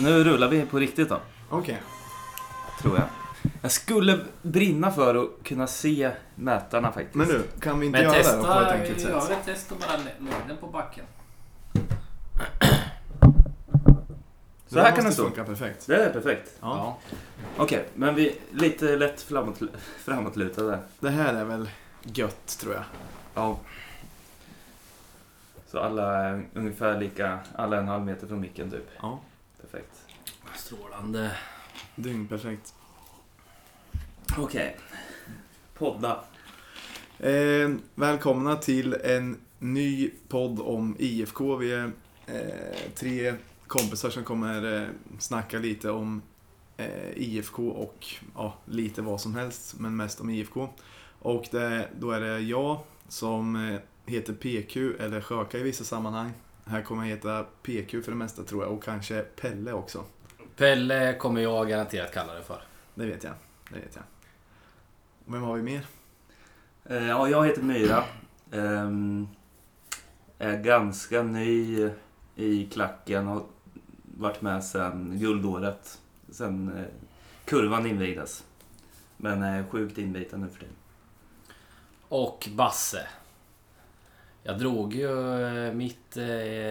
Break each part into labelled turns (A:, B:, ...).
A: Nu rullar vi på riktigt då,
B: Okej.
A: tror jag. Jag skulle brinna för att kunna se mätarna faktiskt.
B: Men du, kan vi inte
C: Men
B: göra
C: testa,
B: det på ett enkelt sätt?
C: jag vill testa bara längden på backen.
A: Så här
B: det
A: kan
B: måste
A: den stå.
B: funka perfekt.
A: Det är perfekt.
B: Ja.
A: Okej, men vi lite lätt framåt, framåtlutade.
B: Det här är väl gött, tror jag.
A: Ja. Så alla är ungefär lika, alla en halv meter från micken typ.
B: Ja.
A: Perfekt.
C: Strålande.
B: Dygnperfekt.
A: Okej. Podda.
B: Eh, välkomna till en ny podd om IFK. Vi är eh, tre kompisar som kommer eh, snacka lite om eh, IFK och ja, lite vad som helst, men mest om IFK. Och det, då är det jag som eh, heter PQ, eller Sjöka i vissa sammanhang. Här kommer jag heta PQ för det mesta tror jag, och kanske Pelle också.
C: Pelle kommer jag garanterat kalla det för.
B: Det vet jag. Det vet jag. Vem har vi mer?
A: Eh, ja, jag heter Myra. Ehm, är ganska ny i klacken. Har varit med sedan guldåret. Sen eh, kurvan invigdes. Men är sjukt inbiten nu för tiden.
D: Och Basse. Jag drog ju eh, mitt... eh,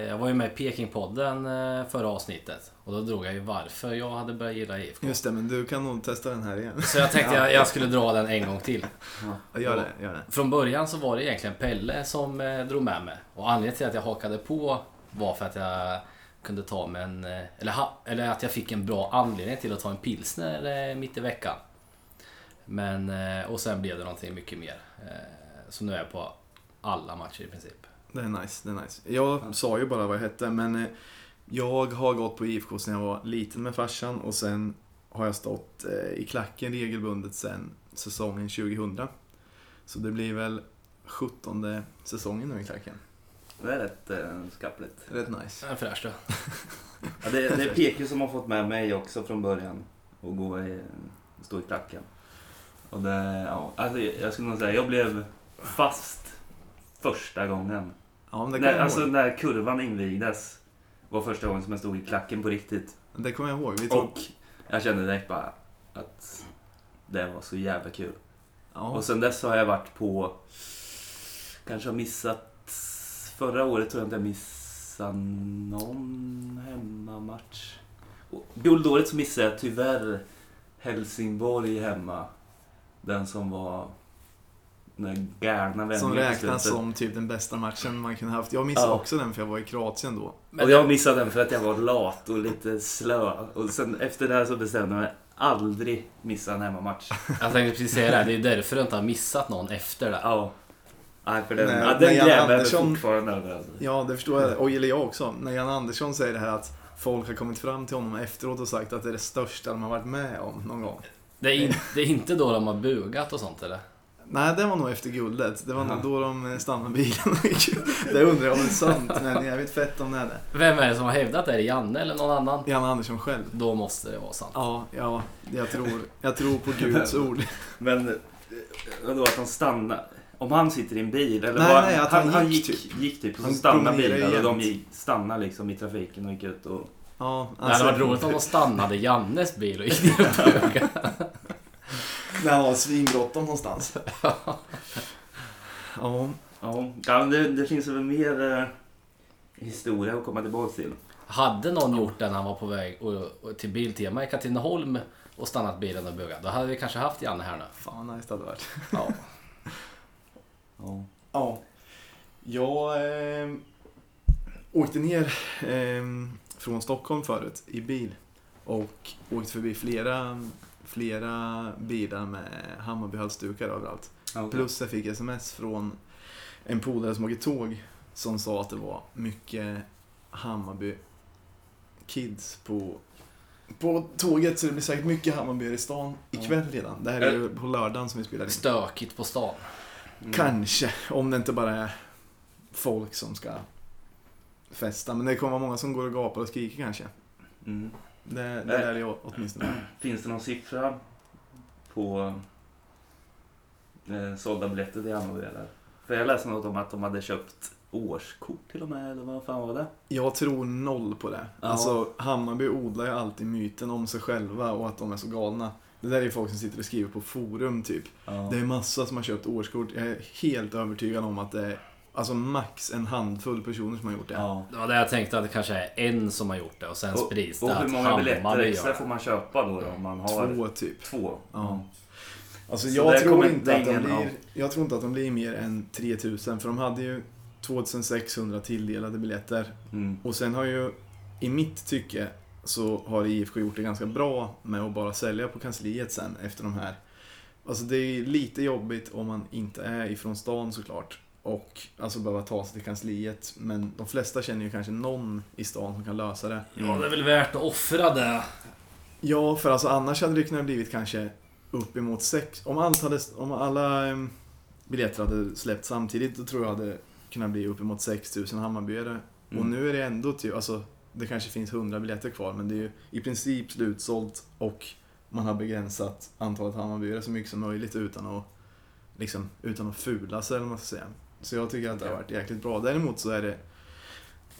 D: Jag var ju med i Pekingpodden eh, förra avsnittet. Och då drog jag ju varför jag hade börjat gilla IFK.
B: Just det, men du kan nog testa den här igen.
D: Så jag tänkte jag, jag skulle dra den en gång till.
B: Gör det, gör det.
D: Från början så var det egentligen Pelle som eh, drog med mig. Och anledningen till att jag hakade på var för att jag kunde ta mig en... eh, Eller, ha, eller att jag fick en bra anledning till att ta en pilsner eh, mitt i veckan. Men... eh, Och sen blev det någonting mycket mer. Eh, Så nu är jag på alla matcher i princip.
B: Det är nice, det är nice. Jag sa ju bara vad jag hette, men eh, jag har gått på IFK sedan jag var liten med farsan och sen har jag stått eh, i klacken regelbundet sedan säsongen 2000. Så det blir väl 17 säsongen nu i klacken.
A: Det är rätt eh, skapligt.
B: Rätt nice.
D: Det är fräscht du.
A: Ja, det, det är PQ som har fått med mig också från början. Och gå i, stå i klacken. Och det, ja, alltså, jag skulle nog säga, jag blev fast första gången.
B: Ja, men det kommer
A: När,
B: jag
A: alltså
B: ihåg.
A: när kurvan invigdes var första gången som jag stod i klacken på riktigt.
B: Det kommer jag ihåg. Vi tog...
A: Och jag kände direkt bara att det var så jävla kul.
B: ja.
A: Och sen dess har jag varit på, kanske har missat, förra året tror jag inte jag missade någon hemmamatch. Och Guldåret så missade jag tyvärr Helsingborg hemma. Den som var den där galna vändningen
B: Som
A: på
B: räknas
A: slutet.
B: som typ den bästa matchen man kunde haft. Jag missade
A: Ja.
B: också den för jag var i Kroatien då.
A: Och jag missade den för att jag var lat och lite slö. Och sen efter det här så bestämde jag mig aldrig missa en hemmamatch.
D: Jag tänkte precis säga det, här, det är därför du inte har missat någon efter det.
A: Ja. Nej, för den,
B: Nej,
A: ja,
B: men
A: den
B: Jan
A: gräver
B: Andersson-
A: fortfarande över. alltså.
B: Ja, det förstår jag. Och gillar jag också. När Jan Andersson säger det här att folk har kommit fram till honom efteråt och sagt att det är det största de har varit med om någon gång.
D: Det är, in, det är inte då de har bugat och sånt eller?
B: Nej, det var nog efter guldet. Det var nog
A: Ja.
B: då de eh, stannade bilen och gick ut. Det undrar jag om det är sant, men jag vet fett om det är det.
D: Vem är det som har hävdat det? Är det Janne eller någon annan?
B: Jan Andersson själv.
D: Då måste det vara sant.
B: Ja, ja, jag tror, jag tror på Guds ord.
A: Men eh, vadå att han stannar? Om han sitter i en bil? Eller
B: Nej,
A: var,
B: nej, att han gick
A: typ. gick typ. Och så
B: Han
A: stannade
B: promenerade
A: bilen och de
B: jämt.
A: gick, stannade liksom i trafiken och gick ut och...
B: Ja, alltså,
D: det hade varit roligt om de stannade Jannes bil och gick ner och bugade.
B: När han har svinbråttom någonstans. Ja,
A: Ja, ja men det, det finns väl mer eh, historia att komma tillbaka till.
D: Hade någon gjort det när han var på väg och, och till Biltema i Katrineholm och stannat bilen och bugat, då hade vi kanske haft Janne här nu.
B: fan vad nice det hade varit.
D: Ja.
A: Ja.
B: Ja. Jag eh, åkte ner eh, från Stockholm förut i bil och åkte förbi flera, flera bilar med Hammarbyhalsdukar överallt. Plus jag fick sms från en polare som åker tåg som sa att det var mycket Hammarby kids på, på tåget så det blir säkert mycket Hammarby i stan ikväll redan. Det här är ju på lördagen som vi spelar in.
D: Stökigt på stan.
A: Mm.
B: Kanske, om det inte bara är folk som ska festa. Men det kommer vara många som går och gapar och skriker kanske.
A: Mm.
B: Det, det
A: Nej.
B: lär jag åtminstone.
A: Finns det någon siffra på eh, sålda biljetter till Hammarby eller? För jag läste något om att de hade köpt årskort till och med, eller vad fan var det?
B: Jag tror noll på det.
A: Ja.
B: Alltså Hammarby odlar ju alltid myten om sig själva och att de är så galna. Det där är ju folk som sitter och skriver på forum typ.
A: Ja.
B: Det är massa som har köpt årskort. Jag är helt övertygad om att det är alltså max en handfull personer som har gjort det.
A: Ja.
D: Det var det jag tänkte att det kanske är en som har gjort det och sen sprids
A: och,
D: det
A: och hur
D: att
A: många biljetter
D: Hammarby
A: extra
D: gör
A: får
D: det.
A: man köpa då, då om man har två?
B: Två typ.
A: Mm.
B: Ja. Alltså
A: Så
B: jag
A: där
B: tror,
A: kommer
B: inte att de
A: ingen- ja.
B: blir, jag tror inte att de blir mer än 3000 för de hade ju 2600 tilldelade biljetter.
A: Mm.
B: Och sen har ju, i mitt tycke, så har IFK gjort det ganska bra med att bara sälja på kansliet sen efter de här. Alltså det är ju lite jobbigt om man inte är ifrån stan såklart. Och alltså behöva ta sig till kansliet. Men de flesta känner ju kanske någon i stan som kan lösa det.
D: Ja, det är väl värt att offra det.
B: Ja, för alltså annars hade det kunnat blivit kanske uppemot sex. Om, allt hade, om alla em, biljetter hade släppt samtidigt, då tror jag hade kunnat bli uppemot 6000 Hammarbyare. Och
A: Mm.
B: nu är det ändå typ, alltså det kanske finns 100 biljetter kvar, men det är ju i princip slutsålt och man har begränsat antalet Hammarbyare så mycket som möjligt utan att, liksom, utan att fula sig eller vad man ska säga. Så jag tycker att det har varit jäkligt bra. Däremot så är det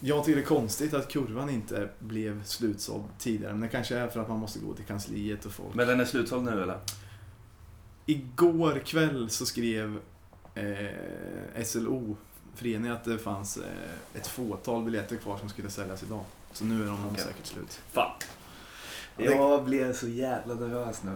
B: jag tycker det är konstigt att kurvan inte blev slutsåld tidigare. Men det kanske är för att man måste gå till kansliet och folk.
A: Men den är slutsåld nu eller?
B: Igår kväll så skrev eh, SLO, föreningen, att det fanns eh, ett fåtal biljetter kvar som skulle säljas idag. Så nu är de
A: Okej.
B: säkert slut.
A: Fan.
B: Det-
A: Jag blev så jävla nervös nu.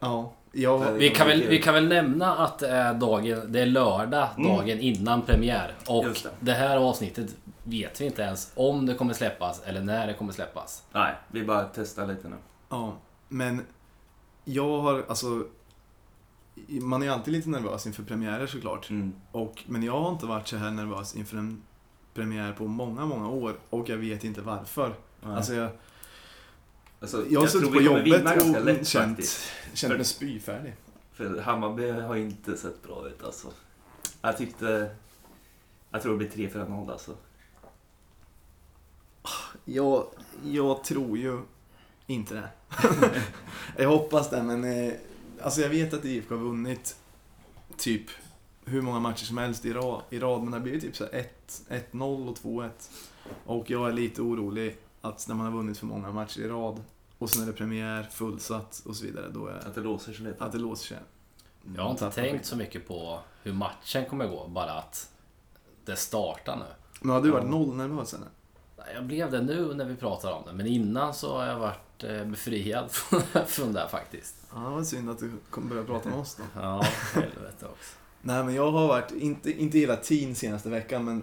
B: Ja, jag,
D: Vi kan, väl, vi kan väl nämna att det är, dagen, det är lördag
A: Mm.
D: dagen innan premiär. Och
A: Just
D: det.
A: det.
D: här avsnittet vet vi inte ens om det kommer släppas eller när det kommer släppas.
A: Nej, vi bara testar lite nu.
B: ja, men jag har alltså... Man är ju alltid lite nervös inför premiärer såklart.
A: Mm.
B: Och, men jag har inte varit så här nervös inför en premiär på många, många år och jag vet inte varför.
A: Nej.
B: Alltså jag,
A: Alltså,
B: jag har suttit på
A: kommer
B: jobbet
A: vinna ganska
B: och
A: lätt,
B: känt,
A: faktiskt.
B: känt
A: För-
B: mig spyfärdig.
A: För Hammarby har inte sett bra ut alltså. Jag tyckte... Jag tror det blir 3-4-0 alltså.
B: Jag, jag tror ju inte det. jag hoppas det, men eh, alltså jag vet att IFK har vunnit typ hur många matcher som helst i rad, i rad men det blir ju typ så här 1 1-0 och 2-1. Och jag är lite orolig att när man har vunnit för många matcher i rad och sen är det premiär, fullsatt och så vidare, då är
A: Att det låser sig lite.
B: att det låser sig.
D: Jag har inte
B: Tappar
D: tänkt
B: skit.
D: så mycket på hur matchen kommer gå, bara att det startar nu.
B: Men har du varit
A: Ja.
B: noll nervös eller?
D: Nej, Jag blev det nu när vi pratar om det, men innan så har jag varit eh, befriad från det här faktiskt.
B: Ja, det var synd att du kom börja prata med oss då.
D: Ja, helvete också.
B: Nej, men jag har varit, inte, inte hela tiden senaste veckan, men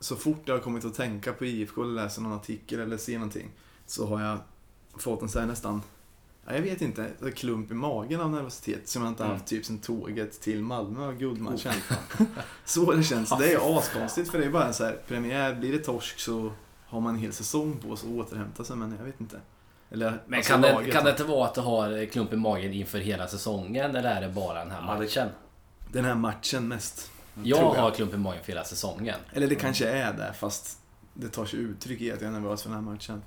B: så fort jag har kommit att tänka på IFK eller läser någon artikel eller ser någonting så har jag fått en sån här nästan, ja, jag vet inte, en klump i magen av nervositet som jag inte
D: Mm.
B: haft typ sen tåget till Malmö och guldmatchen.
D: Oh.
B: så det känns, det är askonstigt för det är bara en så här premiär, blir det torsk så har man en hel säsong på sig att återhämta sig, men jag vet inte. Eller,
D: Men
B: alltså
D: kan, det,
B: laget.
D: kan det inte vara att du har klump i magen inför hela säsongen eller är det bara den här
A: Ja, det-
D: matchen?
B: Den här matchen mest.
D: Jag
B: tror jag.
D: har klump i magen för hela säsongen.
B: Eller
A: Mm.
B: det kanske är det, fast det tar sig uttryck i att jag är nervös för den här matchen.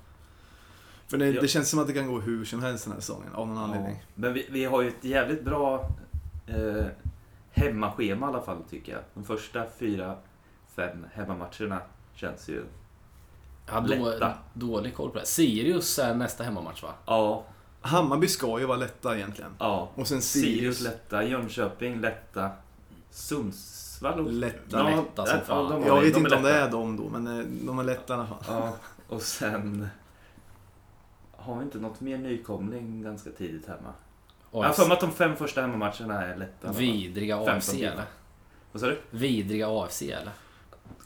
B: För det,
A: Ja.
B: det känns som att det kan gå hur som helst den här säsongen, av någon anledning.
A: Men vi, vi har ju ett jävligt bra eh, hemmaschema i alla fall tycker jag. De första fyra, fem hemmamatcherna känns ju...
D: Jag har då,
A: Lätta.
D: dålig koll på det. Sirius är nästa hemmamatch va?
A: Ja,
B: Hammarby ska ju vara lätta egentligen.
A: ja.
B: Och sen
A: Sirius
B: Sirius,
A: lätta, Jönköping lätta, Sundsvall och...
B: lätta.
D: Ja, lätta som
A: ja,
D: fan.
A: de har-
B: jag
A: de
B: vet inte om det
A: lätta.
B: är dem då, men eh, de är lätta i alla fall.
A: Ja, och sen... Har vi inte något mer nykomling ganska tidigt hemma? Jag har
D: AFC,
A: för mig att de fem första hemmamatcherna är lätta.
D: vidriga
A: 15
D: AFC
A: timmar.
D: eller?
A: Vad sa du?
D: Vidriga AFC eller?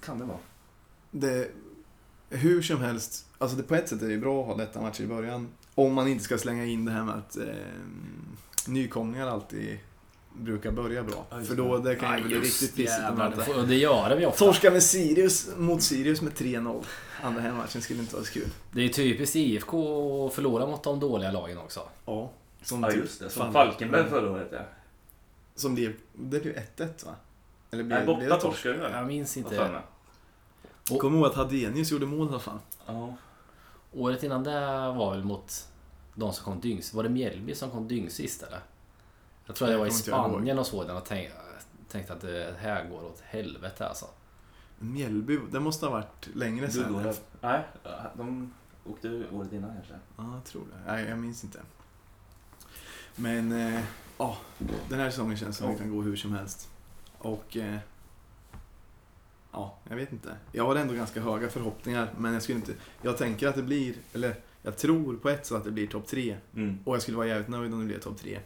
A: Kan det vara.
B: Det, hur som helst, alltså det, på ett sätt är det ju bra att ha lätta matcher i början. Om man inte ska slänga in det här med att eh, nykomlingar alltid brukar börja bra.
A: Ja, just
B: För då det kan ju
D: Ja,
B: bli
D: just
B: riktigt pissigt om
D: jävlar,
B: man
D: det
B: inte
D: får- Och det gör vi ofta.
B: Torska med Sirius mot Sirius med 3-0. Andra hemmatchen skulle inte vara så kul.
D: Det är typiskt IFK att förlora mot de dåliga lagen också.
B: Ja. Som
A: Ja
B: typ-
A: just det, som
B: fan-
A: Falkenberg förra året ja.
B: Som blev... Det blev 1-1 va? Eller blev,
A: Nej,
B: blev det
A: borta
B: torsk?
A: torskade vi väl?
D: Jag minns
A: Vad fan
D: inte.
A: är
B: Kommer ihåg att Hadenius gjorde mål i alla fall.
A: det? Ja.
D: Året innan det var väl mot de som kom dyngs. Var det Mjällby som kom dyngs sist eller? Jag tror
B: Jag
D: jag var i
B: kommer inte ihåg.
D: Spanien och såg den och tänk- tänkte att det här går åt helvete alltså.
B: Mjällby, det måste ha varit längre
A: Du
B: sen.
A: går Nej, de åkte året innan kanske.
B: Ja, jag tror det. Nej, jag minns inte. Men eh, ja, den här säsongen känns som att det kan gå hur som helst. Och eh, ja, jag vet inte. Jag har ändå ganska höga förhoppningar, men jag skulle inte... Jag tänker att det blir, eller jag tror på ett sätt att det blir topp tre.
A: Mm.
B: Och jag skulle vara jävligt nöjd om det blev topp tre.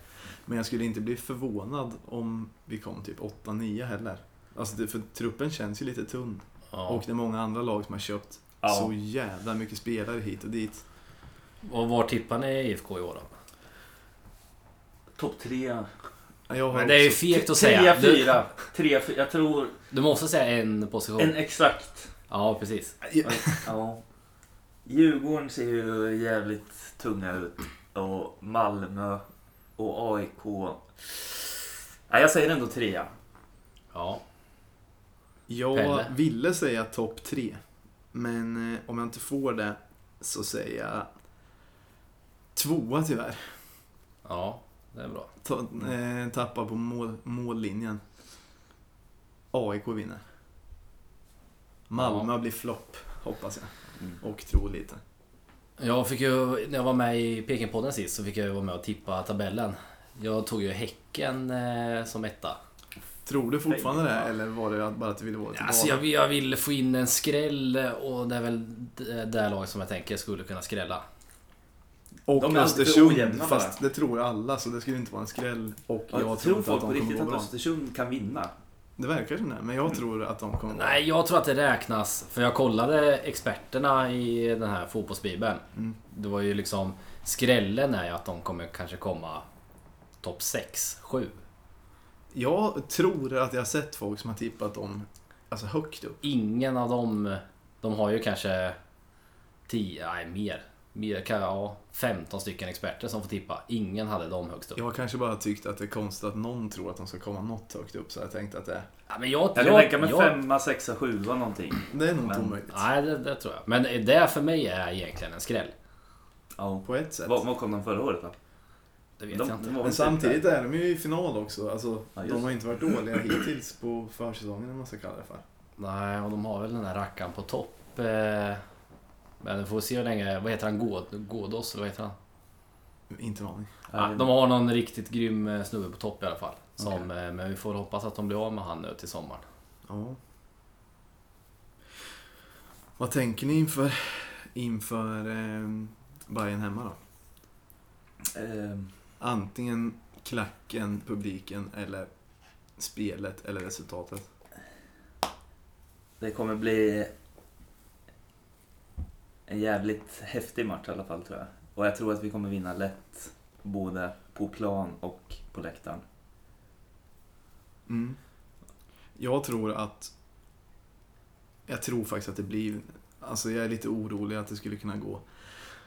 B: Men jag skulle inte bli förvånad om vi kom typ 8-9 heller. Alltså, det, för truppen känns ju lite tunn.
D: Ja.
B: Och det är många andra lag som har köpt så
A: Ja.
B: jävla mycket spelare hit och dit.
D: Och var tippar ni IFK i år då?
A: Topp tre.
B: Ja, Jag har
D: Men det är ju
B: också-
D: fegt att
A: Trea,
D: säga. Du,
A: fyra. Trea, fyra. Jag tror
D: du måste säga en position.
A: en exakt.
D: Ja, precis.
A: Ja. Djurgården ser ju jävligt tunga ut. Och Malmö och AIK. Nej, jag säger ändå trea.
D: Ja.
B: Jag
D: Pelle.
B: ville säga topp tre. Men eh, om jag inte får det så säger jag tvåa tyvärr.
D: Ja, det är bra.
B: Ta, eh, tappar på mål, mållinjen. AIK vinner. Malmö blir flopp, hoppas jag.
A: Mm.
B: Och tror lite.
D: Jag fick ju, när jag var med i Pekingpodden sist så fick jag ju vara med och tippa tabellen. Jag tog ju Häcken eh, som etta.
B: Tror du fortfarande det eller var det bara att du ville vara tillbaka?
D: Alltså jag, jag vill få in en skräll eh, och det är väl det- det laget som jag tänker skulle kunna skrälla.
B: Och
A: De är alltid för
B: Östersund,
A: ojämna
B: fast det tror alla så det skulle inte vara en skräll. Och jag,
A: Jag, tror
B: tror inte
A: folk
B: att
A: på
B: de kommer
A: riktigt
B: gå
A: att Mm.
B: bra.
A: Östersund kan vinna.
B: Det verkar som det, men jag tror att de kommer gå bra.
D: Nej, jag tror att det räknas. För jag kollade experterna i den här fotbollsbibeln.
B: Mm.
D: Det var ju liksom... Skrällen är ju att de kommer kanske komma topp 6, 7.
B: Jag tror att jag har sett folk som har tippat dem alltså högt upp.
D: Ingen av dem... De har ju kanske 10, nej mer. mer kan- ja, 15 stycken experter som får tippa. Ingen hade dem högst upp.
B: Jag har kanske bara tyckt att det är konstigt att någon tror att de ska komma något högt upp så jag tänkte att det,
D: Ja, men jag,
A: Jag kan tänka mig femma, sexa, sjua någonting.
B: det är nog inte
A: Men-
B: omöjligt.
D: Nej, det, det tror jag. Men det för mig är egentligen en skräll.
A: Ja.
B: På ett sätt.
A: Vad, vad kom de förra året då?
D: Det vet
A: de,
D: jag inte.
A: de var
B: Men
A: väl
B: samtidigt
A: typ
B: är de ju i final också. Alltså,
A: Ja, just
B: de har ju inte varit dåliga hittills på försäsongen eller vad man ska kalla det för.
D: Nej, och de har väl den där rackaren på topp. eh, Men vi får se hur länge... Vad heter han? Gåd, Gådos? Eller vad heter han?
B: Inte en aning.
A: där.
D: Ja, de har någon riktigt grym eh, snubbe på topp i alla fall. Som, eh, Men vi får hoppas att de blir av med han nu till sommaren.
B: Ja. Vad tänker ni inför, inför eh, Bayern hemma då?
A: Ehm,
B: Antingen klacken, publiken eller spelet eller resultatet.
A: Det kommer bli en jävligt häftig match i alla fall tror jag. Och jag tror att vi kommer vinna lätt. Både på plan och på läktaren.
B: Mm. Jag tror att... Jag tror faktiskt att det blir... Alltså jag är lite orolig att det skulle kunna gå,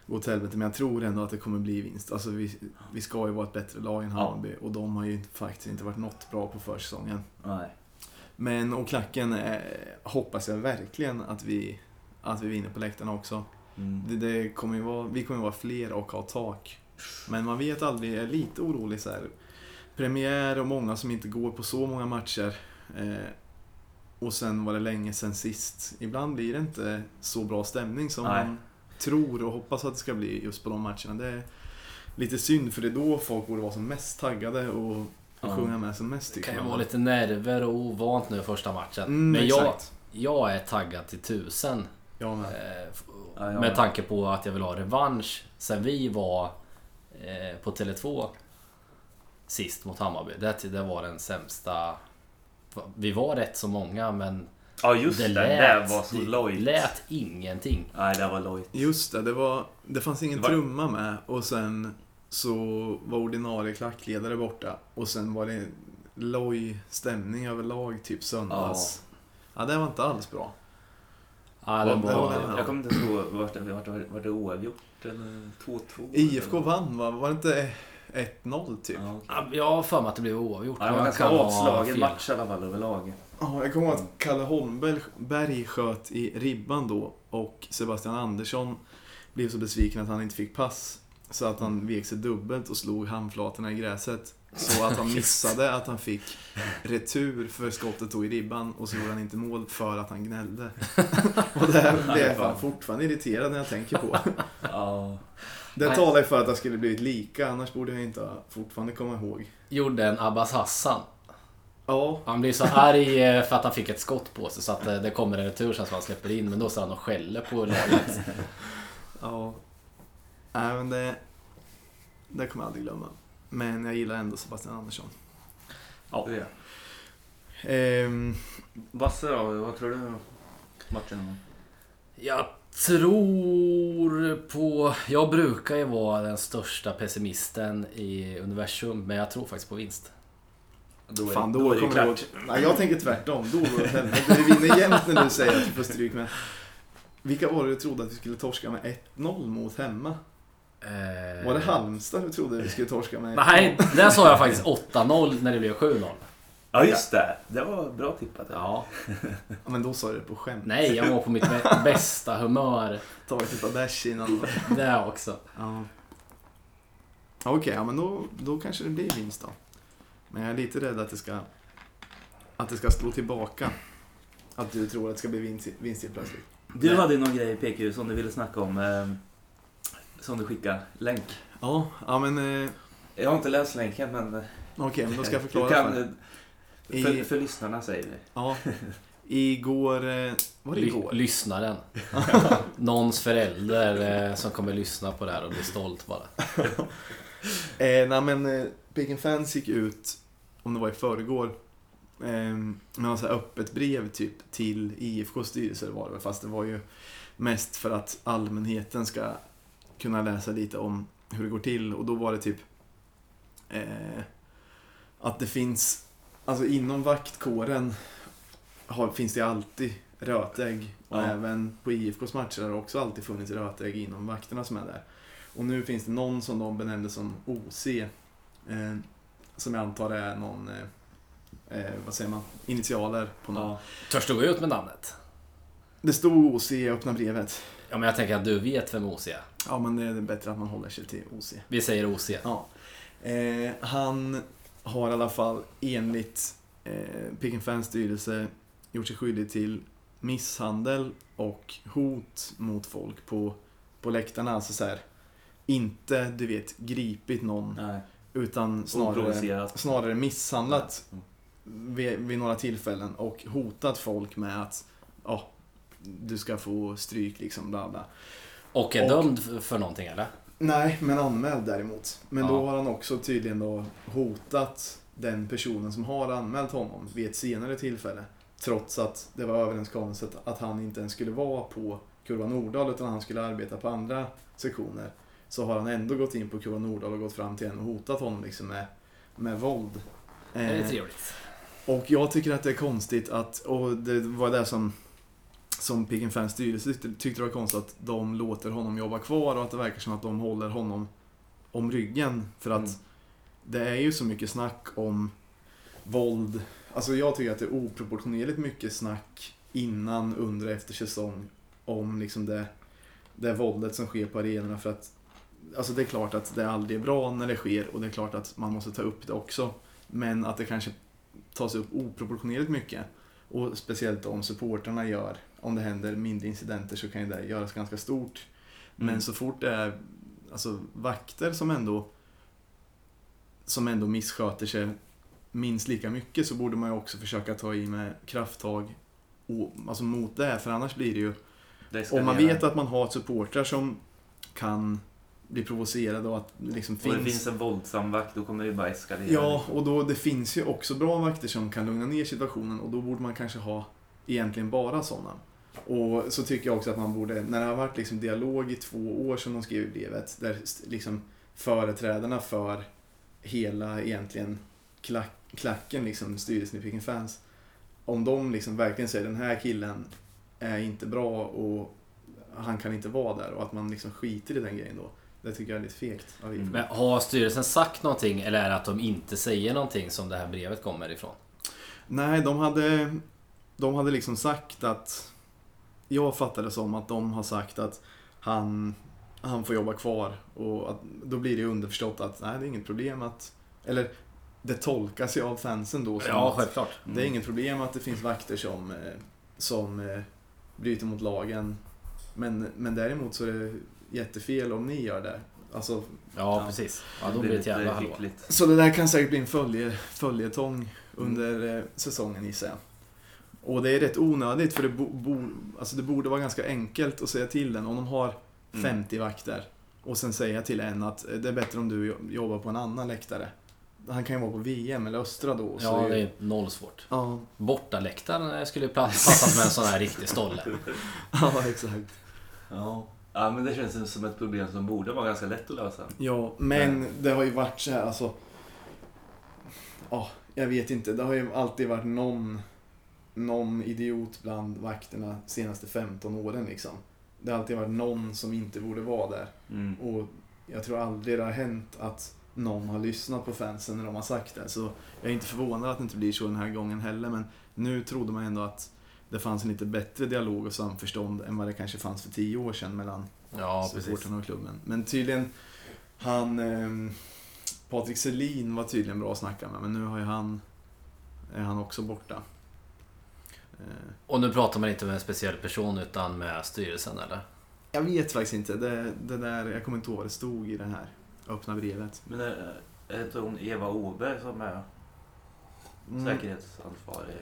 B: gå till helvete, men jag tror ändå att det kommer bli vinst. Alltså vi, vi ska ju vara ett bättre lag än
A: Ja.
B: Hammarby och de har ju faktiskt inte varit något bra på försäsongen.
A: Nej.
B: Men och klacken eh, hoppas jag verkligen att vi, att vi vinner på läktarna också.
A: Mm.
B: Det, det kommer ju vara, vi kommer ju vara fler och ha tak. Men man vet aldrig, jag är lite orolig så här. Premiär och många som inte går på så många matcher. Eh, och sen var det länge sen sist. Ibland blir det inte så bra stämning som
A: Nej.
B: man tror och hoppas att det ska bli just på de matcherna. Det är lite synd för det är då folk borde vara som mest taggade och, och
A: Ja.
B: sjunga med som mest
D: Det
B: tycker
D: kan ju
B: man.
D: vara lite nerver och ovant nu första matchen.
B: Mm,
D: men jag,
B: exakt.
D: jag är taggad till tusen.
B: Jag
D: eh,
B: med.
D: f-
A: Ja, jag
D: Med
A: med.
D: tanke på att jag vill ha revansch sen vi var eh, på Tele2 sist mot Hammarby. Det, det var den sämsta... Vi var rätt så många men
A: Ja just det,
D: det
A: det
D: lät-
A: där var så
D: det
A: lojt.
D: lät ingenting.
A: Nej, det var lojt.
B: Just det, det, var, det fanns ingen
A: Det var-
B: trumma med och sen så var ordinarie klackledare borta och sen var det loj stämning överlag typ söndags. Ja, det var inte alls bra.
D: Ja, det
B: Vad- vad-
D: var,
B: vad-
A: Jag kommer inte ihåg vart det vart, det- vart det oavgjort eller 2-2.
B: IFK
A: eller-
B: vann va? Var det inte 1-0 typ?
A: Ja, okej.
D: Ja, Jag har för mig att det blev oavgjort.
A: Ja, det var en
D: men jag
A: ganska
D: kan ha
A: avslagen
D: fel.
A: match i alla fall överlag.
B: Ja, jag kommer ihåg att Kalle Holmberg Berg sköt i ribban då och Sebastian Andersson blev så besviken att han inte fick pass. Så att han vek sig dubbelt och slog handflatorna i gräset. Så att han missade att han fick retur för skottet tog i ribban och så gjorde han inte mål för att han gnällde. och det här blev jag fan fortfarande irriterad när jag tänker på.
A: Ja.
B: Det
C: Nej.
B: talar ju för att det skulle blivit lika, annars borde jag inte ha- fortfarande komma ihåg.
D: Gjorde en Abbas Hassan.
B: Ja,
D: Han blir så arg eh, för att han fick ett skott på sig så att eh, det kommer en retur sen som han släpper in. Men då står han och skäller på laget.
B: ja. Nej, men det, det kommer jag aldrig glömma. Men jag gillar ändå Sebastian Andersson.
A: det är det.
B: Ehm,
A: Basse då, vad tror du Martin?
D: Jag tror på... Jag brukar ju vara den största pessimisten i universum. Men jag tror faktiskt på vinst.
A: Då är,
B: fan, då,
A: då är det ju
B: kommer jag
A: klart.
B: ihåg. Nej, jag tänker tvärtom. Då går det åt helvete. Vi vinner jämt när du säger att du får stryk. Men vilka var det du trodde att vi skulle torska med 1-0 mot hemma?
D: Eh,
B: Var det Halmstad du trodde vi skulle torska med?
D: Nej, där sa jag faktiskt 8-0 när det blev 7-0.
A: Ja just det, det var bra tippat.
D: Ja.
B: Ja, Men då sa du det på skämt.
D: Nej, jag var på mitt bä- bästa humör.
B: Ta ett par bärs innan. då.
D: Det också.
B: Ja. Ja, Okej, ja, men då, då kanske det blir vinst då. Men jag är lite rädd att det ska, att det ska slå tillbaka. Att du tror att det ska bli vinst, vinst helt plötsligt.
A: Du
B: Nej.
A: hade ju någon grej PQ som du ville snacka om. Eh, som du skickade, länk.
B: Ja, ja men eh,
A: Jag har inte läst länken men... eh,
B: okej, men då ska jag
A: du
B: förklara.
A: kan,
B: För.
A: eh,
B: I-
A: för, för lyssnarna säger vi.
B: Ja, igår... eh, Var det
D: Ly-
B: igår?
D: lyssnaren. Någons förälder eh, som kommer lyssna på det här och bli stolt bara.
B: Eh, nej men eh, Picken Fans gick ut, om det var i förrgår, eh, med ett öppet brev typ till IFKs styrelse eller vad det var Fast det var ju mest för att allmänheten ska kunna läsa lite om hur det går till. Och då var det typ eh, att det finns, alltså inom vaktkåren har, finns det alltid rötägg. Och
A: Ja.
B: även på IFKs matcher har det också alltid funnits rötägg inom vakterna som är där. Och nu finns det någon som de benämnde som OC. Eh, som jag antar är någon, eh, eh, vad säger man, initialer på någon.
D: Törs du gå ut med namnet?
B: Det stod OC i öppna brevet.
D: Ja, men jag tänker att du vet vem OC är.
B: Ja men det är bättre att man håller sig till OC.
D: Vi säger OC.
B: Ja. Eh, han har i alla fall enligt eh, Pick Fans styrelse gjort sig skyldig till misshandel och hot mot folk på, på läktarna. Alltså så här, inte du vet gripit någon
A: Nej,
B: utan snarare,
A: oprovocerat.
B: snarare misshandlat
A: Mm.
B: vid, vid några tillfällen och hotat folk med att ja, du ska få stryk liksom bla bla.
D: Och är
B: Och-
D: dömd f- för någonting eller?
B: Nej, men anmäld däremot. Men då
D: Ja.
B: har han också tydligen då hotat den personen som har anmält honom vid ett senare tillfälle. Trots att det var överenskommet att han inte ens skulle vara på Kurva Nordahl utan han skulle arbeta på andra sektioner. Så har han ändå gått in på Kurva Nordahl och gått fram till henne och hotat honom liksom med, med våld.
D: Det är
B: Eh,
D: trevligt.
B: och jag tycker att det är konstigt att, och det var det som, som Picken Fans styrelse tyckte- tyckte det var konstigt att de låter honom jobba kvar och att det verkar som att de håller honom om ryggen. För att
A: Mm.
B: det är ju så mycket snack om våld. Alltså jag tycker att det är oproportionerligt mycket snack innan, under och efter säsong om liksom det, det våldet som sker på arenorna. För att, alltså det är klart att det aldrig är bra när det sker och det är klart att man måste ta upp det också. Men att det kanske tas upp oproportionerligt mycket. Och speciellt om supportrarna gör, om det händer mindre incidenter så kan ju det göras ganska stort. Men
A: Mm.
B: så fort det är alltså, vakter som ändå, som ändå missköter sig minst lika mycket så borde man ju också försöka ta i med krafttag och, alltså mot det. här, För annars blir det ju
A: Det ska
B: om man
A: vi göra.
B: vet att man har supportrar som kan bli provocerade och att det liksom
A: Och det
B: finns...
A: finns en våldsam vakt, då kommer det ju bara eskalera.
B: Ja, och då, det finns ju också bra vakter som kan lugna ner situationen och då borde man kanske ha egentligen bara sådana. Och så tycker jag också att man borde, när det har varit liksom dialog i två år som de skrev i brevet, där st- liksom företrädarna för hela egentligen klack, klacken, liksom, styrelsen i Peking Fans, om de liksom verkligen säger den här killen är inte bra och han kan inte vara där och att man liksom skiter i den grejen då. Det tycker jag är lite fegt. av IFK.
A: Mm.
D: Men har styrelsen sagt någonting eller är det att de inte säger någonting som det här brevet kommer ifrån?
B: Nej, de hade, de hade liksom sagt att... Jag fattade som att de har sagt att han, han får jobba kvar. Och att, då blir det underförstått att nej, det är inget problem att... Eller det tolkas ju av fansen då som
D: Ja,
B: att
D: självklart.
B: det är
A: Mm.
B: inget problem att det finns vakter som, eh, som eh, bryter mot lagen. Men, men däremot så är det jättefel om ni gör det. Alltså,
D: Ja,
A: Ja.
D: precis. Ja, då blir det ett jävla hallå.
A: hyckligt.
B: så det där kan säkert bli en följe, följetong
D: Mm.
B: under eh, säsongen gissar jag. Och det är rätt onödigt för det, bo, bo, alltså det borde vara ganska enkelt att säga till den om de har
A: Mm.
B: 50 vakter och sen säga till en att eh, det är bättre om du jo- jobbar på en annan läktare. Han kan ju vara på VM eller Östra då. så
D: Ja,
B: är ju-
D: det är noll svårt.
B: Ja,
D: Bortaläktaren skulle ju passat med en sån här riktig stolle.
B: ja, exakt.
A: Ja. ja, men det känns som ett problem som borde vara ganska lätt att lösa.
B: Ja, men det har ju varit så här alltså. Ja, jag vet inte. Det har ju alltid varit någon, någon idiot bland vakterna senaste 15 åren liksom. Det har alltid varit någon som inte borde vara där.
A: Mm.
B: Och jag tror aldrig det har hänt att någon har lyssnat på fansen när de har sagt det. Så jag är inte förvånad att det inte blir så den här gången heller. Men nu trodde man ändå att det fanns en lite bättre dialog och samförstånd än vad det kanske fanns för tio år sedan mellan
D: Ja, precis.
B: supportrarna och klubben. Men tydligen, han... Eh, Patrik Selin var tydligen bra att snacka med, men nu har ju han... Är han också borta. Eh,
D: Och nu pratar man inte med en speciell person utan med styrelsen eller?
B: jag vet faktiskt inte. Det, det där, jag kommer inte ihåg vad det stod i det här öppna brevet.
A: Men är är det inte hon Eva Åberg som är
B: Mm.
A: säkerhetsansvarig?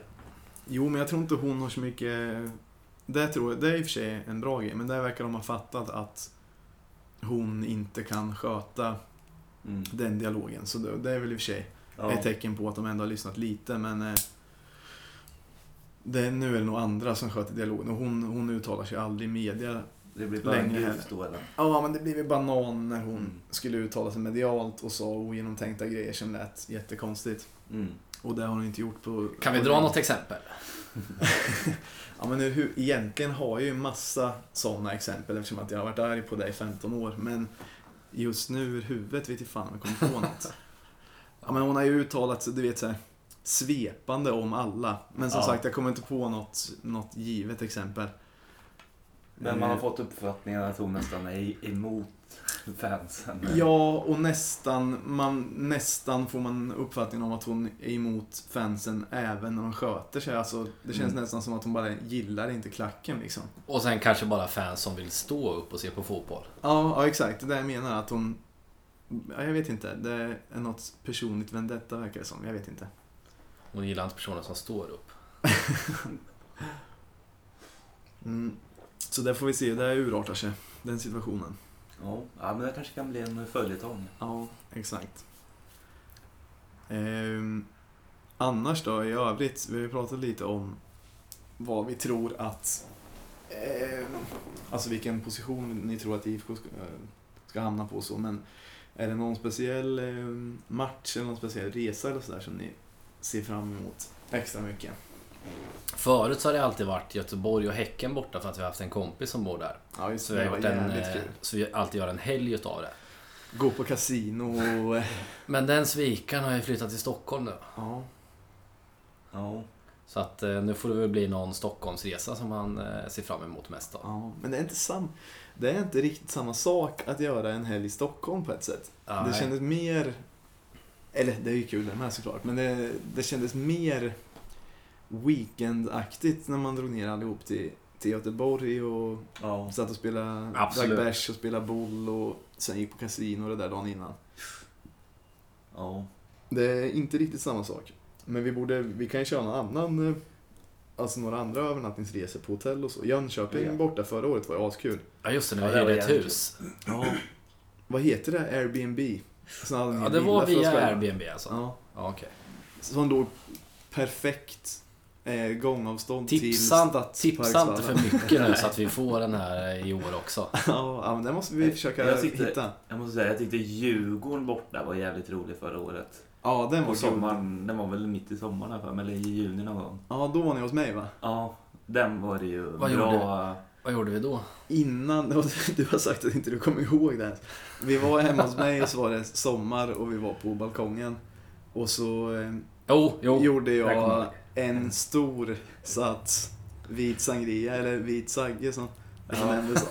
B: Jo, men jag tror inte hon har så mycket... Det, tror jag, det är i och för sig en bra grej, men där verkar de ha fattat att hon inte kan sköta
A: Mm.
B: den dialogen. Så det, det är typ väl i och för sig
A: Ja.
B: ett tecken på att de ändå har lyssnat lite men eh, det är nu är det nog andra som sköter dialogen och hon, hon uttalar sig aldrig i media.
A: Det blir bara en
B: Länge här.
A: guf då eller?
B: Ja men det blev ju banan när hon
A: Mm.
B: skulle uttala sig medialt och sa ogenomtänkta grejer som lät jättekonstigt.
A: Mm.
B: Och det har hon inte gjort på...
D: Kan vi
B: på
D: dra
B: länge.
D: något exempel?
B: Ja men nu, hur, egentligen har jag ju massa sådana exempel eftersom att jag har varit arg på dig i 15 år men just nu ur huvudet vet jag fan om jag kommer på något. Ja men hon har ju uttalat sig, du vet såhär svepande om alla. Men som
A: Ja.
B: sagt jag kommer inte på något, något givet exempel.
A: Men man har
B: Eh,
A: fått uppfattningen att hon nästan är emot fansen.
B: Ja och nästan, man, nästan får man uppfattningen om att hon är emot fansen även när de sköter sig. Alltså, det känns
A: Mm.
B: nästan som att hon bara gillar inte klacken liksom.
D: Och sen kanske bara fans som vill stå upp och se på fotboll.
B: Ja, ja exakt. Det där jag menar att hon... Ja, jag vet inte. Det är något personligt vendetta verkar det som. Jag vet inte.
D: Hon gillar inte personer som står upp.
B: Mm. Så där får vi se. Det urartar sig. Den situationen.
A: Ja. ja, men det kanske kan bli en följetong.
B: Ja, exakt. Ehm, annars då i övrigt. Vi har ju pratat lite om vad vi tror att... ehm, alltså vilken position ni tror att IFK ska, eh, ska hamna på och så. Men är det någon speciell ehm, match eller någon speciell resa eller sådär som ni ser fram emot extra mycket?
D: Förut så har det alltid varit Göteborg och Häcken borta för att vi har haft en kompis som bor där.
B: Ja, just
D: Så
B: det.
D: vi har
B: Det var
D: gjort en,
B: jävligt
D: eh,
B: kul.
D: så vi alltid gör en helg utav det.
B: Gå på kasino och... eh,
D: Men den svikaren har ju flyttat till Stockholm nu.
B: Ja.
A: Ja.
D: Så att eh, nu får det väl bli någon Stockholmsresa som han eh, ser fram emot mest av.
B: ja. Men det är, inte sam... det är inte riktigt samma sak att göra en helg i Stockholm på ett sätt.
D: Nej.
B: Det kändes mer... Eller det är ju kul det med såklart, men det, det kändes mer weekendaktigt när man drog ner allihop till, till Göteborg och
A: ja.
B: satt och spelade
D: Absolut.
B: drack bärs och spelade boll och sen gick på kasino och det där dagen innan.
A: ja.
B: Det är inte riktigt samma sak. Men vi, borde, vi kan ju köra någon annan, eh, alltså några andra övernattningsresor på hotell och så. Jönköping
A: Ja.
B: borta förra året var ju askul.
D: Ja just det, när
A: Ja,
D: vi
A: det var
D: hyrde ett
A: jävligt
D: hus.
B: Ja. Vad heter det? Airbnb? Sån här
D: Ja det
B: villa
D: var
B: för oss
D: via
B: själva.
D: Airbnb alltså.
B: Ja.
D: Ja, okej.
B: Som låg perfekt eh, gångavstånd till
D: Tipsa inte- Tipsa inte för
B: Stadsparksvallen.
D: mycket nu så att vi får den här eh, i år också.
B: ja, ja, men det måste vi
A: Jag
B: försöka
A: tyckte-
B: hitta.
A: Jag måste säga, jag tyckte Djurgården borta var jävligt rolig förra året.
B: Ja, den var
A: På
B: kul.
A: sommaren, den var väl mitt i sommaren här för mig, eller i juni någon gång.
B: Ja, då var ni hos mig va?
A: Ja, den var det ju
D: Vad
A: bra.
D: Vad gjorde vi då?
B: Innan, du har sagt att inte du kommer ihåg det här. Vi var hemma hos mig och så var det sommar och vi var på balkongen. Och så eh,
D: Jo, jo.
B: gjorde
D: där kommer
B: jag
D: jag.
B: en stor sats vit sangria, eller vit sagge som som
A: Ja.
B: nämndes.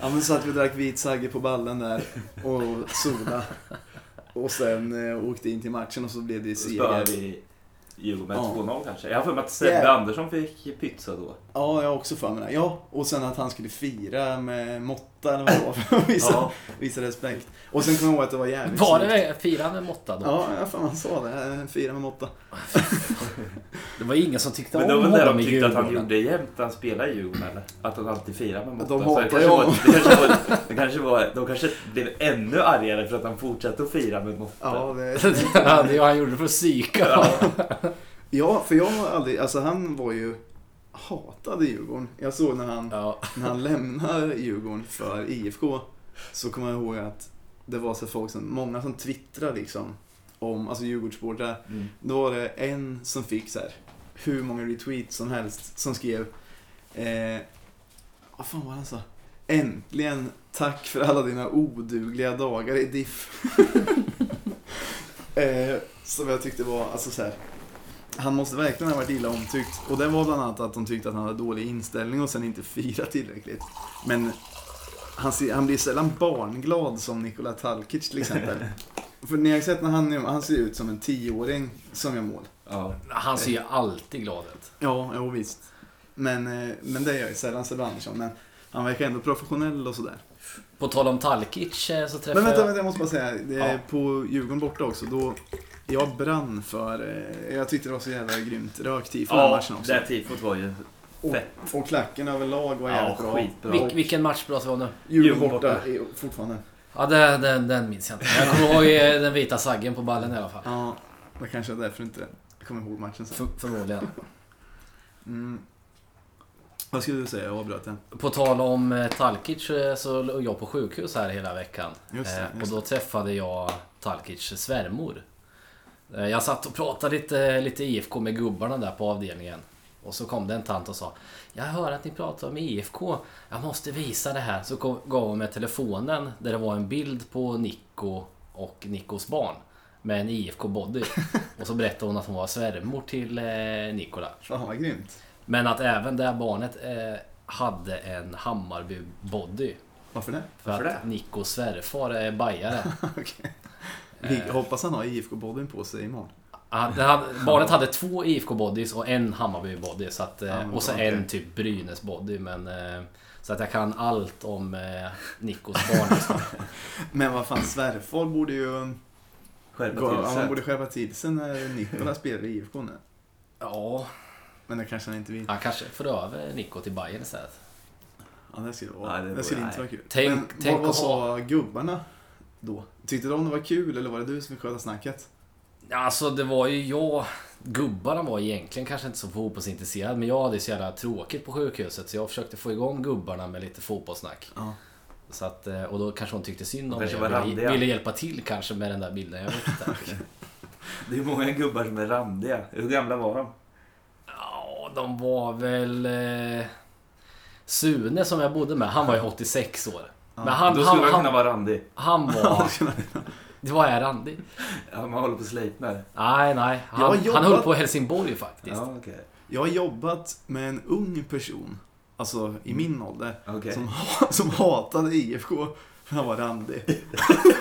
B: Ja men så att vi drack vit sagge på ballen där och soda. Och sen eh, åkte in till matchen och så blev det
A: Spöade
B: seger.
A: vi Djurgården med
B: Ja.
A: 2-0 kanske. Jag har för mig att Sebbe
B: Yeah.
A: Andersson fick pytsa då.
B: Ja, jag har också för mig det. Ja, och sen att han skulle fira med måtta eller vad det var för att visa,
A: Ja,
B: visa respekt. Och sen kommer jag ihåg att det var jävligt
C: Var det
B: snyggt.
D: Eh, Fira med måtta då.
B: Ja, jag fan han sa det. Eh, Fira med måtta.
D: Det var ingen som tyckte
A: men det
D: om
A: var väl det
D: honom
A: de
D: i
A: tyckte att han
D: Djurgården.
A: gjorde jämt, han spelade i Djurgården eller? Att han alltid firade med
B: Att
A: Motta.
B: de
A: Så
B: hatar
A: kanske var-
B: honom.
A: det kanske var- det kanske var- De kanske blev ännu argare för att han fortsatte att fira med Motta.
B: Ja, det,
D: Ja, det var han gjorde för att psyka.
B: Ja, för jag har aldrig, alltså han var ju hatade Djurgården. Jag såg när han,
D: Ja.
B: när han lämnar Djurgården för IFK så kommer jag ihåg att det var så folk som, många som twittrade liksom om, alltså Djurgårdssupportrar.
A: Mm.
B: Då var det en som fick så här, hur många retweets som helst som skrev, eh, vad fan var han sa? Äntligen, tack för alla dina odugliga dagar i diff. eh, som jag tyckte var, alltså så här. Han måste verkligen ha varit illa omtyckt. Och det var bland annat att de tyckte att han hade dålig inställning och sen inte firat tillräckligt. Men han, ser, han blir sällan barnglad som Nikola Talkic till exempel. För ni har sett när han, gör- han ser ut som en tioåring som gör mål.
A: Ja.
D: Han ser ju alltid glad ut.
B: Ja, jo visst. Men, eh, men det gör ju sällan Sebbe Andersson. Men han verkar ändå professionell och sådär.
D: På tal om Talkic eh, så träffade
B: Men vänta,
D: jag...
B: vänta, jag måste bara säga. Det är
D: Ja.
B: På Djurgården borta också, då... Jag brann för... eh, Jag tyckte det var så jävla grymt röktifo den
A: Ja,
B: matchen också.
A: det här tifot var ju
B: Och,
A: fett.
B: och klacken överlag var
A: ja,
B: jävligt bra.
A: skitbra.
D: Vil- vilken match pratar vi om nu?
B: Djurgården
A: Djurgården
B: borta
A: borta.
B: är fortfarande.
D: Ja, den, den, den minns jag inte. Jag kommer ihåg eh, den vita saggen på ballen i alla fall.
B: Ja, det kanske är därför inte jag kommer ihåg matchen sen.
D: För, förmodligen.
B: Mm. Vad skulle du säga? Jag avbröt den.
D: På tal om eh, Talkic eh, så låg jag på sjukhus här hela veckan.
B: Just det,
D: Eh,
B: just
D: och då träffade jag Talkics svärmor. Eh, Jag satt och pratade lite, lite IFK med gubbarna där på avdelningen. Och så kom det en tant och sa Jag hör att ni pratar om IFK. Jag måste visa det här. Så kom- gav hon mig telefonen där det var en bild på Nico och Nicos barn. Med en IFK-body. Och så berättade hon att hon var svärmor till eh, Nikola.
B: Fan vad grymt.
D: Men att även det här barnet eh, hade en Hammarby-body.
B: Varför det?
D: För
A: Varför
D: att Nikos svärfar är bajare.
B: Okej.
A: Eh.
B: Vi- Hoppas han har IFK-bodyn på sig imorgon.
D: Han, det hade, barnet hade två IFK-bodys och en Hammarby-body. Så att, eh,
B: Ja, men
D: och så
B: okej.
D: en typ Brynäs-body. Men, eh, så att jag kan allt om eh, Nikos barn. just nu.
B: Men vad fan, svärfar borde ju...
A: Skärpa
B: Gå,
A: till
B: ja,
A: sig.
B: man borde skärpa till sig när Nikola spelar i IFK nu.
D: ja,
B: Men det kanske han inte vill.
D: han kanske för över Niko till Bayern istället.
B: Ja, det skulle, vara,
A: Nej, det
B: det
A: vore-
B: skulle inte
A: nej.
B: vara kul.
D: Tänk-
B: Men
D: tänk
B: vad, vad
D: att
B: sa gubbarna då? Tyckte de det var kul eller var det du som fick sköta snacket?
D: Alltså det var ju jag... Gubbarna var egentligen kanske inte så fotbollsintresserade men jag hade ju så jävla tråkigt på sjukhuset så jag försökte få igång gubbarna med lite fotbollssnack.
B: Ja.
D: Så att, eh, och då kanske hon tyckte synd om mig
A: Kanske
D: och
A: var
D: ville,
A: randiga.
D: ville hjälpa till kanske med den där bilden. Jag vet inte.
A: Det är många gubbar som är randiga. Hur gamla var de?
D: Ja, de var väl... Eh, Sune som jag bodde med, han var ju 86 år. Men han,
A: Då
D: han,
A: skulle man
D: han,
A: kunna vara randig.
D: han var... Det var är randig?
A: Ja, man håller på och slipnar.
D: Nej, nej.
B: Jag har
D: Han, han
B: jobbat-
D: höll på Helsingborg faktiskt.
A: Ja, okej.
B: Jag har jobbat med en ung person, alltså i min ålder,
A: Mm. Okej.
B: som, ha- som hatade IFK för han var randig.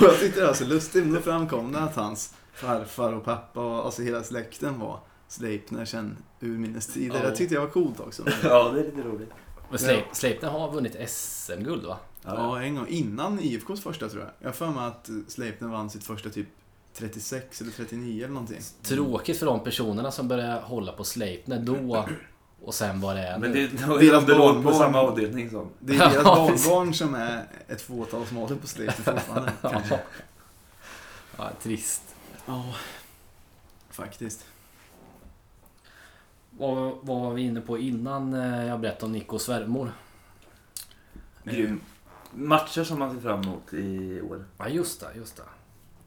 B: och jag tyckte det var så lustigt, men då framkom det att hans farfar och pappa och alltså hela släkten var Sleipner sen urminnes tider.
D: Ja.
B: Det tyckte jag var coolt också. Men,
A: Ja, det är lite roligt.
D: Men Sleip- Sleipner har vunnit SM-guld va?
A: Ja.
B: Ja, en gång. Innan IFKs första tror jag. Jag har för mig att Sleipner vann sitt första typ 36 eller 39 eller någonting.
D: Tråkigt för de personerna som började hålla på Sleipner då och sen var det är
A: Men
D: nu.
A: det, då är
B: Deras
A: de låg på
B: barnbarn.
A: samma avdelning som.
B: Det är deras
D: Ja,
B: barnbarn som är ett fåtalsmål på Sleipner fortfarande. kanske.
D: Ja, trist.
B: Ja, faktiskt.
D: Vad, vad var vi inne på innan eh, jag berättade om Nikos svärmor?
A: Grym. Matcher som man ser fram emot i år.
D: Ja just det, just det.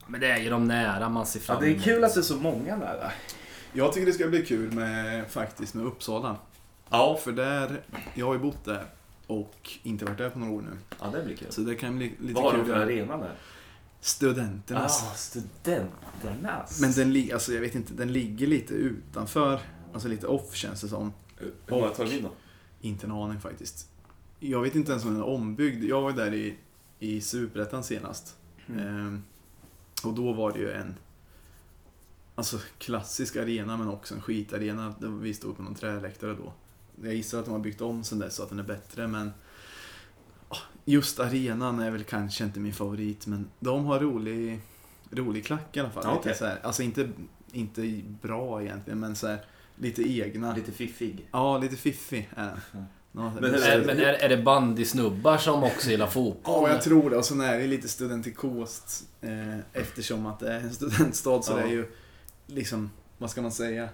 D: Men det är ju de nära man ser fram
A: Ja, det är kul att det är så många nära.
B: Jag tycker det ska bli kul med, faktiskt med Uppsala.
A: Ja.
B: För där, jag har ju bott där och inte varit där på några år nu.
A: Ja, det blir kul.
B: Så det kan bli lite
A: Vad har
B: kul.
A: de för
B: där.
A: arena där?
B: Studenternas.
A: Ah, studenternas.
B: Men den, li- alltså, jag vet inte, den ligger lite utanför, alltså lite off känns det som.
A: Hur många Eh, tar de in då?
B: Inte en aning faktiskt. Jag vet inte ens om den är ombyggd. Jag var ju där i, i Superettan senast.
A: Mm.
B: Ehm, Och då var det ju en alltså, klassisk arena men också en skitarena. Vi stod på någon träläktare då. Jag gissar att de har byggt om sen dess så att den är bättre men ah, just arenan är väl kanske inte min favorit men de har rolig, rolig klack i alla fall.
A: Ja,
B: Lite
A: okej.
B: så här, alltså inte, inte bra egentligen men så här, lite egna.
A: Lite fiffig.
B: Ja, lite fiffig är den. Ja,
A: Men hur
B: så-
D: Är, men är, är det bandysnubbar som också gillar fotboll?
B: Ja, jag tror det. Och sen är det lite studentikost eh, eftersom att det är en studentstad så
A: Ja.
B: det är ju liksom, vad ska man säga?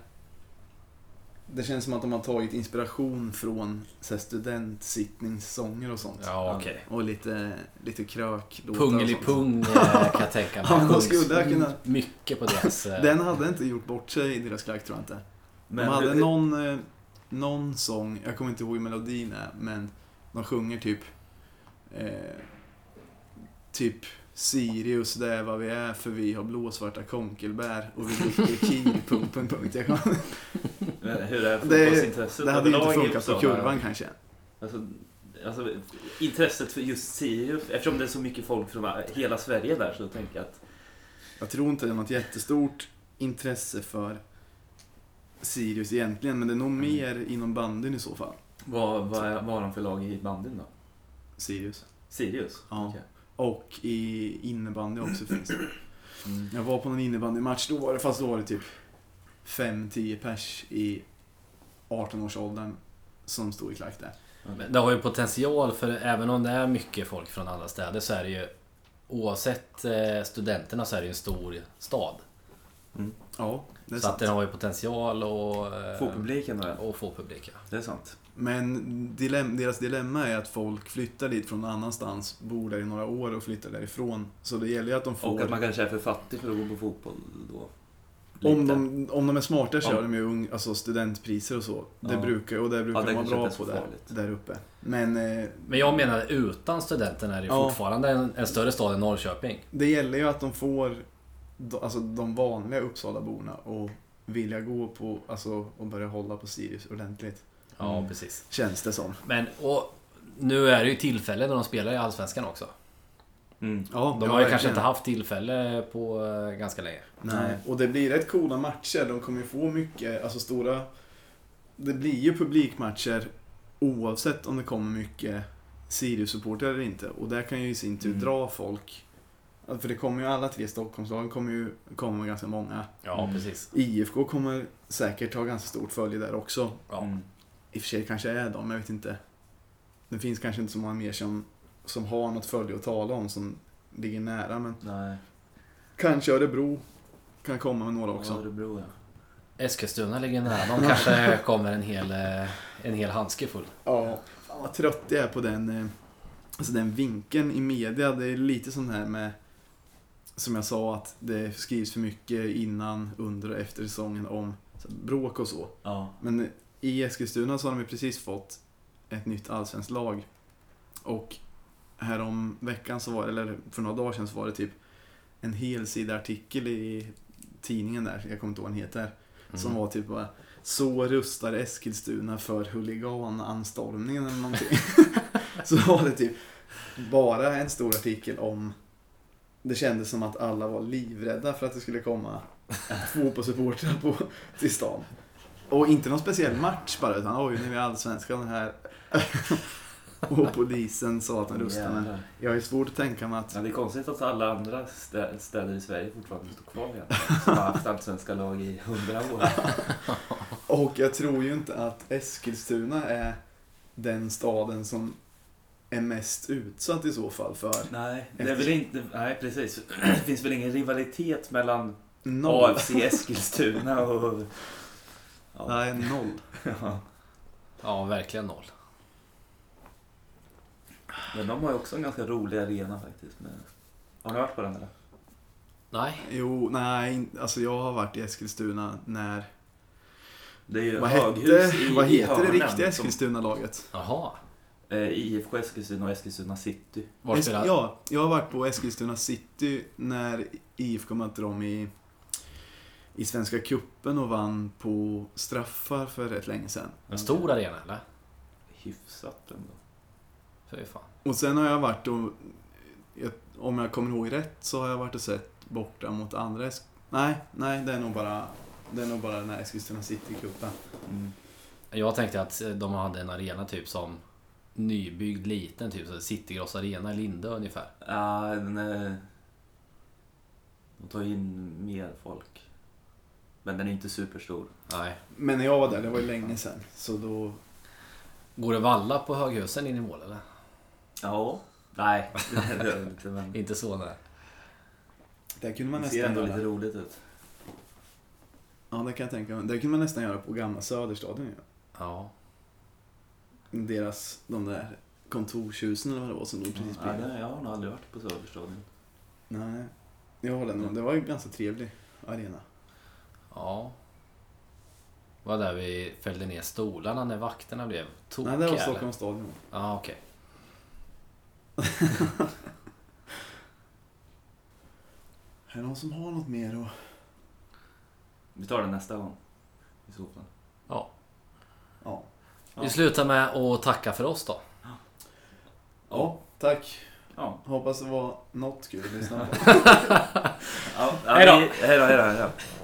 B: Det känns som att de har tagit inspiration från så här, studentsittningssånger och sånt.
D: Ja, okej.
B: Och lite, lite krök.
D: Pungel i pung eh, kan jag tänka mig.
B: Ja, men de
D: Sjungs
B: skulle kunna-
D: Mycket på deras... eh,
B: Den hade inte gjort bort sig i deras klack tror jag inte.
A: Men
B: de hade
A: hur-
B: någon, eh, någon sång, jag kommer inte ihåg hur melodin är, men de sjunger typ eh, Typ Sirius, det är vad vi är för vi har blåsvarta konkelbär och vi dricker kir, punkt, punkt, punkt. Jag kan-
A: men hur är
B: Det-
A: fotbollsintresset
B: Det hade ju inte
A: överlag i
B: funkat på
A: Uppsala?
B: kurvan kanske.
A: Alltså, alltså, intresset för just Sirius, eftersom det är så mycket folk från hela Sverige där så tänker jag att...
B: Jag tror inte det är något jättestort intresse för Sirius egentligen, men det är nog mer inom bandyn i så fall.
A: Vad, vad, är- vad har de för lag i bandyn då?
B: Sirius.
A: Sirius?
B: Ja.
A: Okej.
B: Och i innebandy också finns det.
A: Mm.
B: Jag var på någon innebandymatch, då var det, fast då var det typ 5-10 pers i 18-årsåldern som stod i klack där.
D: Men Det har ju potential för även om det är mycket folk från andra städer så är det ju Oavsett eh, studenterna så är det ju en stor stad.
B: Ja, det är
D: Så att
B: sant.
D: den har ju potential och... eh,
A: Få publiken då? ja.
D: Och få publik ja.
A: Det är sant.
B: Men dilem- deras dilemma är att folk flyttar dit från någon annanstans, bor där i några år och flyttar därifrån. Så det gäller ju att de får...
A: Och att man kanske är för fattig för att gå på fotboll då.
B: om,
A: Lite.
B: de, om de är smarta kör
A: Ja.
B: de ju ung, alltså studentpriser och så. Det
A: Ja.
B: brukar, och det brukar
A: Ja, det
B: de vara
A: kanske
B: bra
A: inte är
B: på
A: så
B: där,
A: farligt.
B: där uppe. Men eh,
D: Men jag menar utan studenterna är det ju
B: Ja.
D: fortfarande en, en större stad än Norrköping.
B: Det gäller ju att de får de- alltså, de vanliga Uppsalaborna och vilja gå på, alltså och börja hålla på Sirius ordentligt.
D: Ja
A: Mm.
D: precis.
B: Känns det som.
D: Men och nu är det ju tillfälle när de spelar i Allsvenskan också.
A: Mm.
B: Ja,
D: De har ju kanske inte haft tillfälle på eh, ganska länge.
B: Nej, och det blir rätt coola matcher. De kommer ju få mycket, alltså stora... Det blir ju publikmatcher oavsett om det kommer mycket Sirius-supportrar eller inte. Och där kan ju i sin tur
A: Mm.
B: dra folk. Alltså, För det kommer ju alla tre Stockholmslagen kommer ju komma med ganska många.
D: Ja
A: Mm.
D: precis.
B: IFK kommer säkert ha ganska stort följe där också.
D: Ja.
A: Mm.
B: I och för sig kanske är de, jag vet inte. Det finns kanske inte så många mer som, som har något följe att tala om som ligger nära. Men
A: Nej.
B: kanske Örebro kan komma med några också.
A: Örebro ja.
D: Eskilstuna ligger nära. De kanske kommer en hel, eh, en hel handske full.
B: Ja, fan vad trött jag är på den, eh, alltså den vinkeln i media. Det är lite sån här med, som jag sa, att det skrivs för mycket innan, under och efter säsongen om så här, bråk och så.
A: Ja.
B: Men i Eskilstuna så har de ju precis fått ett nytt allsvenskt lag. Och härom veckan så var eller för några dagar sedan så var det typ en helsidartikel i tidningen där, jag kommer inte ihåg vad den heter, som
D: Mm.
B: var typ bara Så rustar Eskilstuna för huligananstormningen eller någonting. så var det typ bara en stor artikel om det kändes som att alla var livrädda för att det skulle komma fotbollssupportrar på, till stan. Och inte någon speciell match bara, utan oj, nu är allsvenskan här. och polisen sa att de rustade, men
A: Jävlar.
B: jag har ju svårt att tänka mig att...
A: Ja, det är konstigt att alla andra stä- städer i Sverige fortfarande står kvar igen. Som har haft allsvenska lag i hundra år.
B: Och jag tror ju inte att Eskilstuna är den staden som är mest utsatt i så fall för
A: Nej, det är väl inte, nej precis. Det finns väl ingen rivalitet mellan
B: noll.
A: AFC Eskilstuna och... Ja.
B: Nej, noll.
A: Ja.
D: Ja, verkligen noll.
A: Men de har ju också en ganska rolig arena faktiskt. Med... Har ni varit på den eller?
D: Nej.
B: Jo, nej, alltså jag har varit i Eskilstuna när...
A: Det är ju
B: Vad
A: höghus
B: hette,
A: i,
B: vad
A: i
B: heter det
A: hörnen liksom.
B: riktiga
A: som-
B: Eskilstuna-laget?
D: Jaha.
A: Eh, IFK Eskilstuna och Eskilstuna City.
D: Var
B: Es-
D: spelar...
B: Ja, jag har varit på Eskilstuna City när IFK mötte dem i, i Svenska Cupen och vann på straffar för rätt länge sedan.
D: En stor arena eller?
A: Hyfsat ändå.
D: Fy fan.
B: Och sen har jag varit och, jag- om jag kommer ihåg rätt, så har jag varit och sett borta mot andra Esk- Nej, nej, det är nog bara, det är nog bara den här Eskilstuna City-cupen.
A: Mm.
D: Jag tänkte att eh, de hade en arena typ som nybyggd liten, typ så Citygross arena i Lindö ungefär.
A: Ja, den, eh, de tar in mer folk. Men den är inte superstor.
D: Nej.
B: Men när jag var där, det var ju länge sedan, så då...
D: Går det valla på Höghusen in i mål eller?
A: Ja. Nej, det gör den inte. Men
D: Inte så nej.
B: Där kunde man
A: det ser
B: nästan
A: ändå lite
B: göra...
A: roligt ut.
B: Ja, det kan jag tänka mig. Där kunde man nästan göra på gamla Söderstadion ju.
D: Ja.
B: Deras, de där kontortjusen eller vad det var som de precis
A: Ja,
B: blev.
A: det, jag har nog aldrig varit på Söderstadion.
B: Nej, jag håller nog. Det var ju en ganska trevlig arena.
D: Ja. Var där vi fällde ner stolarna när vakterna blev tokiga
B: Nej, det var
D: eller?
B: Stockholms stadion.
D: Ja, okej.
B: Är det någon som har något mer att...
A: Vi tar den nästa gång. I så fall.
D: Ja.
B: Ja.
A: Ja.
D: Vi slutar med att tacka för oss då.
B: Ja, tack.
A: Ja.
B: Hoppas det var något kul att lyssna på.
A: ja,
D: Hej då.
A: vi- Hej då, hej då, hej då.